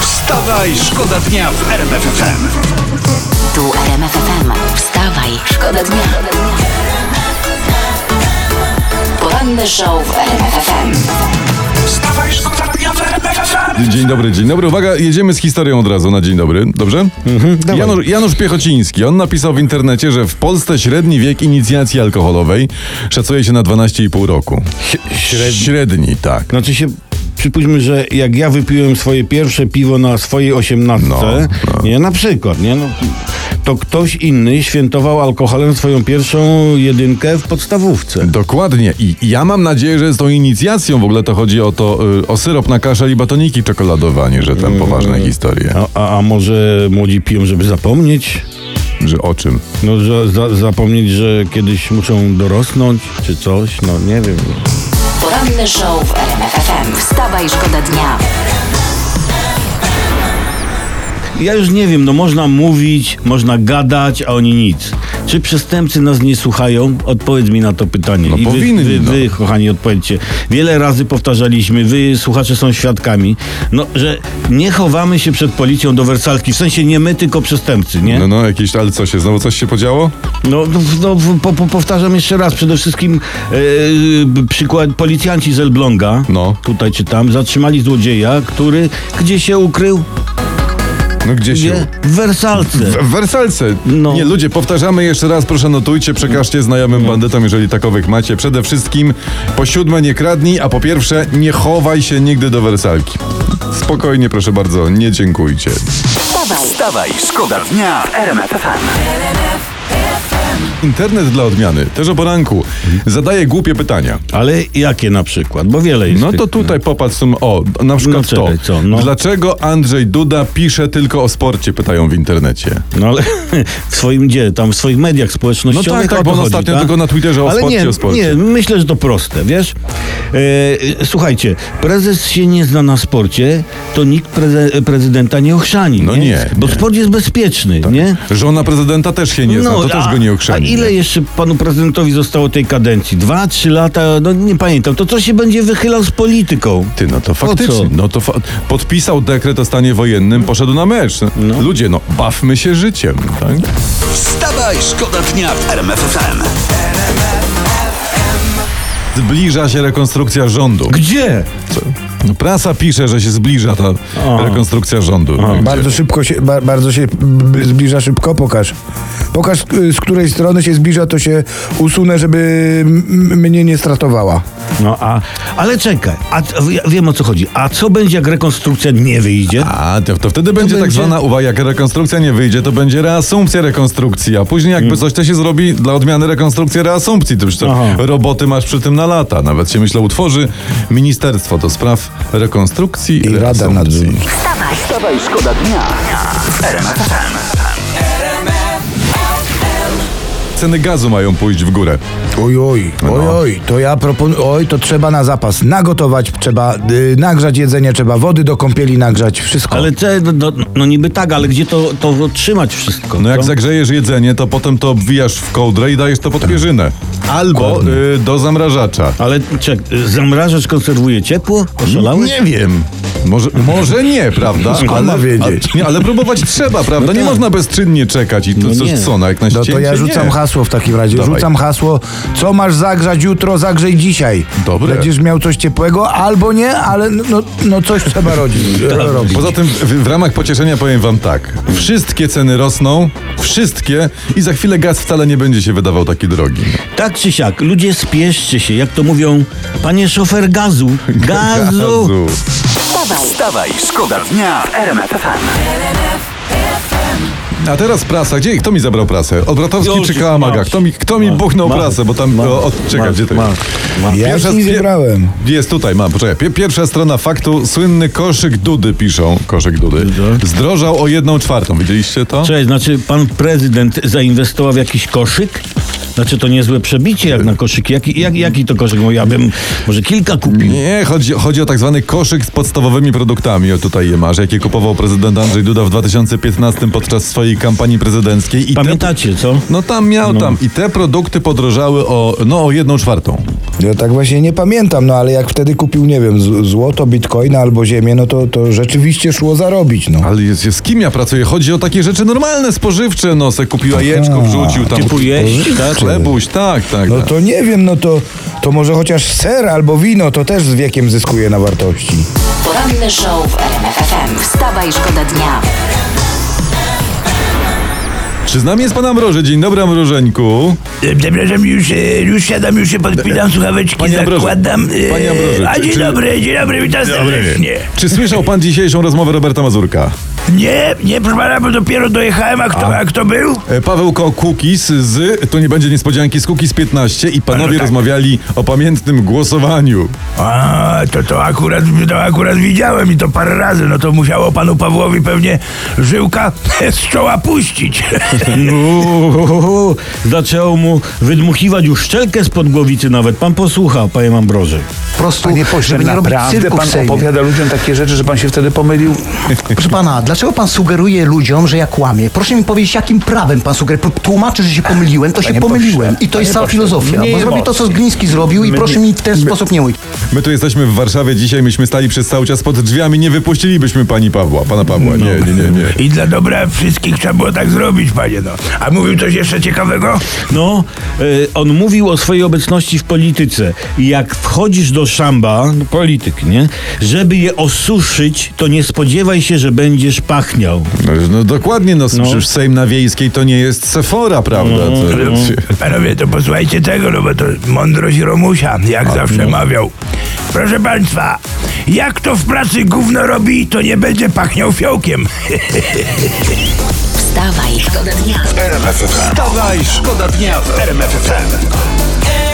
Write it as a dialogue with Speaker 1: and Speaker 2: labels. Speaker 1: Wstawaj, szkoda dnia w RMFFM.
Speaker 2: Tu RMF FM. Wstawaj, szkoda dnia. Poranny show w RMF FM.
Speaker 1: Wstawaj, szkoda dnia w RMFFM.
Speaker 3: Dzień dobry, dzień dobry. Uwaga, jedziemy z historią od razu na dzień dobry. Dobrze?
Speaker 4: Mhm,
Speaker 3: Janusz, Janusz Piechociński. On napisał w internecie, że w Polsce średni wiek inicjacji alkoholowej szacuje się na 12,5 roku.
Speaker 4: Średnio.
Speaker 3: Średni, tak.
Speaker 4: Znaczy się, przypuśćmy, że jak ja wypiłem swoje pierwsze piwo na swojej osiemnastce,
Speaker 3: No, no.
Speaker 4: nie, na przykład, nie, no, to ktoś inny świętował alkoholem swoją pierwszą jedynkę w podstawówce.
Speaker 3: Dokładnie. I ja mam nadzieję, że z tą inicjacją w ogóle to chodzi o to, y, o syrop na kaszel i batoniki czekoladowe, a nie, że
Speaker 4: Mm.
Speaker 3: tam poważne historie.
Speaker 4: A, a, a może młodzi piją, żeby zapomnieć?
Speaker 3: Że o czym?
Speaker 4: No, że za, zapomnieć, że kiedyś muszą dorosnąć, czy coś, no nie wiem.
Speaker 2: Poranny show w RMF FM. Wstawaj, szkoda dnia.
Speaker 4: Ja już nie wiem, no można mówić, można gadać, a oni nic. Czy przestępcy nas nie słuchają? Odpowiedz mi na to pytanie.
Speaker 3: No
Speaker 4: I
Speaker 3: powinni,
Speaker 4: Wy,
Speaker 3: no.
Speaker 4: wy, wy, kochani, odpowiedzcie. Wiele razy powtarzaliśmy, wy, słuchacze, są świadkami, no, że nie chowamy się przed policją do wersalki. W sensie nie my, tylko przestępcy, nie?
Speaker 3: No, no, jakieś, ale co się, znowu coś się podziało?
Speaker 4: No, no, no po, po, powtarzam jeszcze raz, przede wszystkim e, przykład policjanci z Elbląga,
Speaker 3: No.
Speaker 4: tutaj czy tam, zatrzymali złodzieja, który gdzie się ukrył?
Speaker 3: No gdzie się...
Speaker 4: Gdzie? W Wersalce.
Speaker 3: W w Wersalce.
Speaker 4: No.
Speaker 3: Nie, ludzie, powtarzamy jeszcze raz, proszę notujcie, przekażcie znajomym bandytom, jeżeli takowych macie. Przede wszystkim po siódme nie kradnij, a po pierwsze nie chowaj się nigdy do Wersalki. Spokojnie, proszę bardzo, nie dziękujcie.
Speaker 2: Wstawaj,
Speaker 1: Wstawaj, szkoda dnia w RMFFM.
Speaker 3: Internet dla odmiany, też o poranku, zadaje głupie pytania.
Speaker 4: Ale jakie na przykład? Bo wiele jest.
Speaker 3: No
Speaker 4: tych.
Speaker 3: to tutaj popatrz, sum- o, na przykład
Speaker 4: No czekaj,
Speaker 3: to.
Speaker 4: co, no?
Speaker 3: Dlaczego Andrzej Duda pisze tylko o sporcie, pytają w internecie.
Speaker 4: No ale w swoim gdzie, tam w swoich mediach społecznościowych.
Speaker 3: No tak, tak,
Speaker 4: o to
Speaker 3: bo on
Speaker 4: chodzi,
Speaker 3: ostatnio
Speaker 4: tak?
Speaker 3: tylko na Twitterze o
Speaker 4: ale
Speaker 3: sporcie,
Speaker 4: nie,
Speaker 3: o sporcie.
Speaker 4: Nie, myślę, że to proste, wiesz? E, e, słuchajcie, prezes się nie zna na sporcie, to nikt preze, prezydenta nie ochrzani.
Speaker 3: No nie,
Speaker 4: Bo
Speaker 3: nie.
Speaker 4: sport jest bezpieczny, nie?
Speaker 3: Żona prezydenta też się nie zna, to też
Speaker 4: No a,
Speaker 3: go nie
Speaker 4: A
Speaker 3: okrzeni.
Speaker 4: ile jeszcze panu prezydentowi zostało tej kadencji? Dwa, trzy lata? No nie pamiętam. To co się będzie wychylał z polityką?
Speaker 3: Ty, no to
Speaker 4: Po
Speaker 3: faktycznie.
Speaker 4: co?
Speaker 3: No to fa- podpisał dekret o stanie wojennym, poszedł na mecz. Ludzie, no bawmy się życiem. Tak?
Speaker 1: Wstawaj, szkoda dnia w RMFFM.
Speaker 3: Zbliża się rekonstrukcja rządu.
Speaker 4: Gdzie?
Speaker 3: No, Prasa pisze, że się zbliża ta rekonstrukcja rządu. Gdzie-
Speaker 5: Bardzo szybko się, ba, bardzo się b- zbliża szybko, pokaż. Pokaż, y, z której strony się zbliża, to się usunę, żeby m- m- mnie nie stratowała.
Speaker 4: No a, ale czekaj, a, c- ja wiem o co chodzi. A co będzie, jak rekonstrukcja nie wyjdzie?
Speaker 3: A, to, to wtedy będzie tak
Speaker 4: będzie-
Speaker 3: zwana, uwaga, jak rekonstrukcja nie wyjdzie, to będzie reasumpcja rekonstrukcji, a później jakby coś to się zrobi dla odmiany rekonstrukcję reasumpcji. To, to
Speaker 4: Aha.
Speaker 3: roboty masz przy tym na lata. Nawet się myślę utworzy Ministerstwo do Spraw Rekonstrukcji
Speaker 5: I Rada
Speaker 3: Reasumpcji.
Speaker 5: Nadzorcza.
Speaker 2: wstawaj,
Speaker 1: Wstawaj, szkoda dnia w RMFFM.
Speaker 3: Ceny gazu mają pójść w górę.
Speaker 5: Oj, oj, oj, oj, to ja proponuję, oj, to trzeba na zapas nagotować, trzeba y, nagrzać jedzenie, trzeba wody do kąpieli nagrzać, wszystko.
Speaker 4: Ale te, no, no, no niby tak, ale gdzie to, to trzymać wszystko?
Speaker 3: No jak
Speaker 4: co?
Speaker 3: zagrzejesz jedzenie, to potem to obwijasz w kołdrę i dajesz to pod pierzynę. Albo y, do zamrażacza.
Speaker 4: Ale czek, zamrażacz konserwuje ciepło? Oszalałeś?
Speaker 3: Nie wiem. Może, może nie, prawda?
Speaker 5: Skąd ma wiedzieć?
Speaker 3: A, nie, ale próbować trzeba, prawda? nie
Speaker 4: tak.
Speaker 3: można bezczynnie czekać i to
Speaker 4: No
Speaker 3: coś
Speaker 4: nie.
Speaker 3: co, na jak na
Speaker 5: no to
Speaker 3: ścięcie?
Speaker 5: ja rzucam
Speaker 3: nie.
Speaker 5: hasło w takim razie,
Speaker 3: Dawaj.
Speaker 5: rzucam hasło, co masz zagrzać jutro, zagrzej dzisiaj.
Speaker 3: Dobre.
Speaker 5: Będziesz miał coś ciepłego, albo nie, ale no, no coś trzeba rodzić, robić.
Speaker 3: Poza tym w, w ramach pocieszenia powiem wam tak. Wszystkie ceny rosną, wszystkie i za chwilę gaz wcale nie będzie się wydawał taki drogi.
Speaker 4: Tak czy siak, ludzie spieszcie się, jak to mówią, panie szofer gazu, gazu.
Speaker 2: wstawaj,
Speaker 1: Wstawaj, szkoda dnia w RMFFM.
Speaker 3: A teraz prasa. Gdzie? Kto mi zabrał prasę? Odbratowski
Speaker 4: Już,
Speaker 3: czy Kałamaga?
Speaker 4: masz.
Speaker 3: Kto mi, kto mi
Speaker 4: Masz,
Speaker 3: buchnął
Speaker 4: masz,
Speaker 3: prasę? Bo tam...
Speaker 4: masz,
Speaker 3: o, o, No, czekaj,
Speaker 4: masz,
Speaker 3: gdzie to
Speaker 4: masz,
Speaker 3: jest?
Speaker 4: masz.
Speaker 5: Ja
Speaker 3: Pierwsza
Speaker 5: ci
Speaker 3: z-
Speaker 5: zebrałem.
Speaker 3: Jest tutaj, mam, poczekaj. Pie- Pierwsza strona faktu, słynny koszyk Dudy piszą. Koszyk Dudy. Zdrożał o jedną czwartą. Widzieliście to?
Speaker 4: Cześć, znaczy pan prezydent zainwestował w jakiś koszyk? Znaczy to niezłe przebicie jak na koszyki. Jaki, jak, jaki to koszyk? Bo ja bym może kilka kupił.
Speaker 3: Nie, chodzi, chodzi o tak zwany koszyk z podstawowymi produktami. O tutaj je masz, jakie kupował prezydent Andrzej Duda w 2015 podczas swojej kampanii prezydenckiej. I te-
Speaker 4: Pamiętacie, co?
Speaker 3: No tam miał tam. I te produkty podrożały o, no, o jedną czwartą.
Speaker 5: Ja tak właśnie nie pamiętam, no ale jak wtedy kupił, nie wiem, z- złoto, bitcoina albo ziemię, no to, to rzeczywiście szło zarobić, no.
Speaker 3: Ale jest, jest z kim ja pracuję? Chodzi o takie rzeczy normalne, spożywcze. No, se kupiła jajeczko, wrzucił tam.
Speaker 4: Typu jeść, tak?
Speaker 3: Chlebuś, tak, tak.
Speaker 5: No
Speaker 3: tak.
Speaker 5: to nie wiem, no to, to może chociaż ser albo wino, to też z wiekiem zyskuje na wartości.
Speaker 2: Poranny show w RMF FM. Wstawa i szkoda dnia.
Speaker 3: Czy z nami jest pan Ambroży? Dzień dobry, Ambrożeńku.
Speaker 6: Przepraszam, już, e, już siadam, już się
Speaker 7: E,
Speaker 6: podpinam słuchaweczki,
Speaker 3: Panie Ambroży,
Speaker 6: zakładam. e,
Speaker 3: panie Ambroży,
Speaker 6: A
Speaker 3: czy-
Speaker 6: dzień
Speaker 3: czy-
Speaker 6: dobry, dzień dobry, witam serdecznie.
Speaker 3: Czy słyszał pan dzisiejszą rozmowę Roberta Mazurka?
Speaker 6: Nie, nie, proszę pana, bo dopiero dojechałem, a kto, a. kto był?
Speaker 3: E, Paweł Ko Kukis z, to nie będzie niespodzianki, z Kukis 15 i panowie
Speaker 6: tak.
Speaker 3: rozmawiali o pamiętnym głosowaniu.
Speaker 6: A, to, to, akurat, to akurat widziałem i to parę razy, no to musiało panu Pawłowi pewnie żyłka z czoła puścić.
Speaker 4: Uuu, Zaczęło mu wydmuchiwać już szczelkę spod głowicy nawet. Pan posłucha, panie Ambroży.
Speaker 8: Po prostu,
Speaker 7: Panie pośle,
Speaker 8: żeby nie robić
Speaker 7: naprawdę
Speaker 8: cyrku
Speaker 7: pan
Speaker 8: w Sejmie.
Speaker 7: opowiada ludziom takie rzeczy, że pan się wtedy pomylił?
Speaker 8: Proszę pana, dlaczego pan sugeruje ludziom, że ja kłamię? Proszę mi powiedzieć, jakim prawem pan sugeruje? Tłumaczy, że się pomyliłem, to się
Speaker 7: Panie
Speaker 8: pomyliłem.
Speaker 7: pośle,
Speaker 8: I to jest
Speaker 7: panie
Speaker 8: cała
Speaker 7: pośle,
Speaker 8: filozofia.
Speaker 7: mniej
Speaker 8: Bo zrobił to, co
Speaker 7: emocji.
Speaker 8: Zgliński zrobił i proszę mi w ten sposób nie ujść.
Speaker 3: My tu jesteśmy w Warszawie dzisiaj, myśmy stali przez cały czas pod drzwiami, nie wypuścilibyśmy pani Pawła, pana Pawła, nie, nie, nie, nie.
Speaker 6: No. I dla dobra wszystkich trzeba było tak zrobić, panie, no. A mówił coś jeszcze ciekawego?
Speaker 4: No, y, on mówił o swojej obecności w polityce. I Jak wchodzisz do szamba, no, polityk, nie? Żeby je osuszyć, to nie spodziewaj się, że będziesz pachniał.
Speaker 3: No dokładnie, no, przecież Sejm na Wiejskiej to nie jest Sefora, prawda?
Speaker 6: No.
Speaker 3: To-
Speaker 6: Panowie, to posłuchajcie tego, no bo to mądrość Romusia, jak zawsze mawiał. Proszę państwa, jak to w pracy gówno robi, to nie będzie pachniał fiołkiem.
Speaker 2: Wstawa i szkoda dnia.
Speaker 1: Wstawaj, szkoda dnia w RMF FM.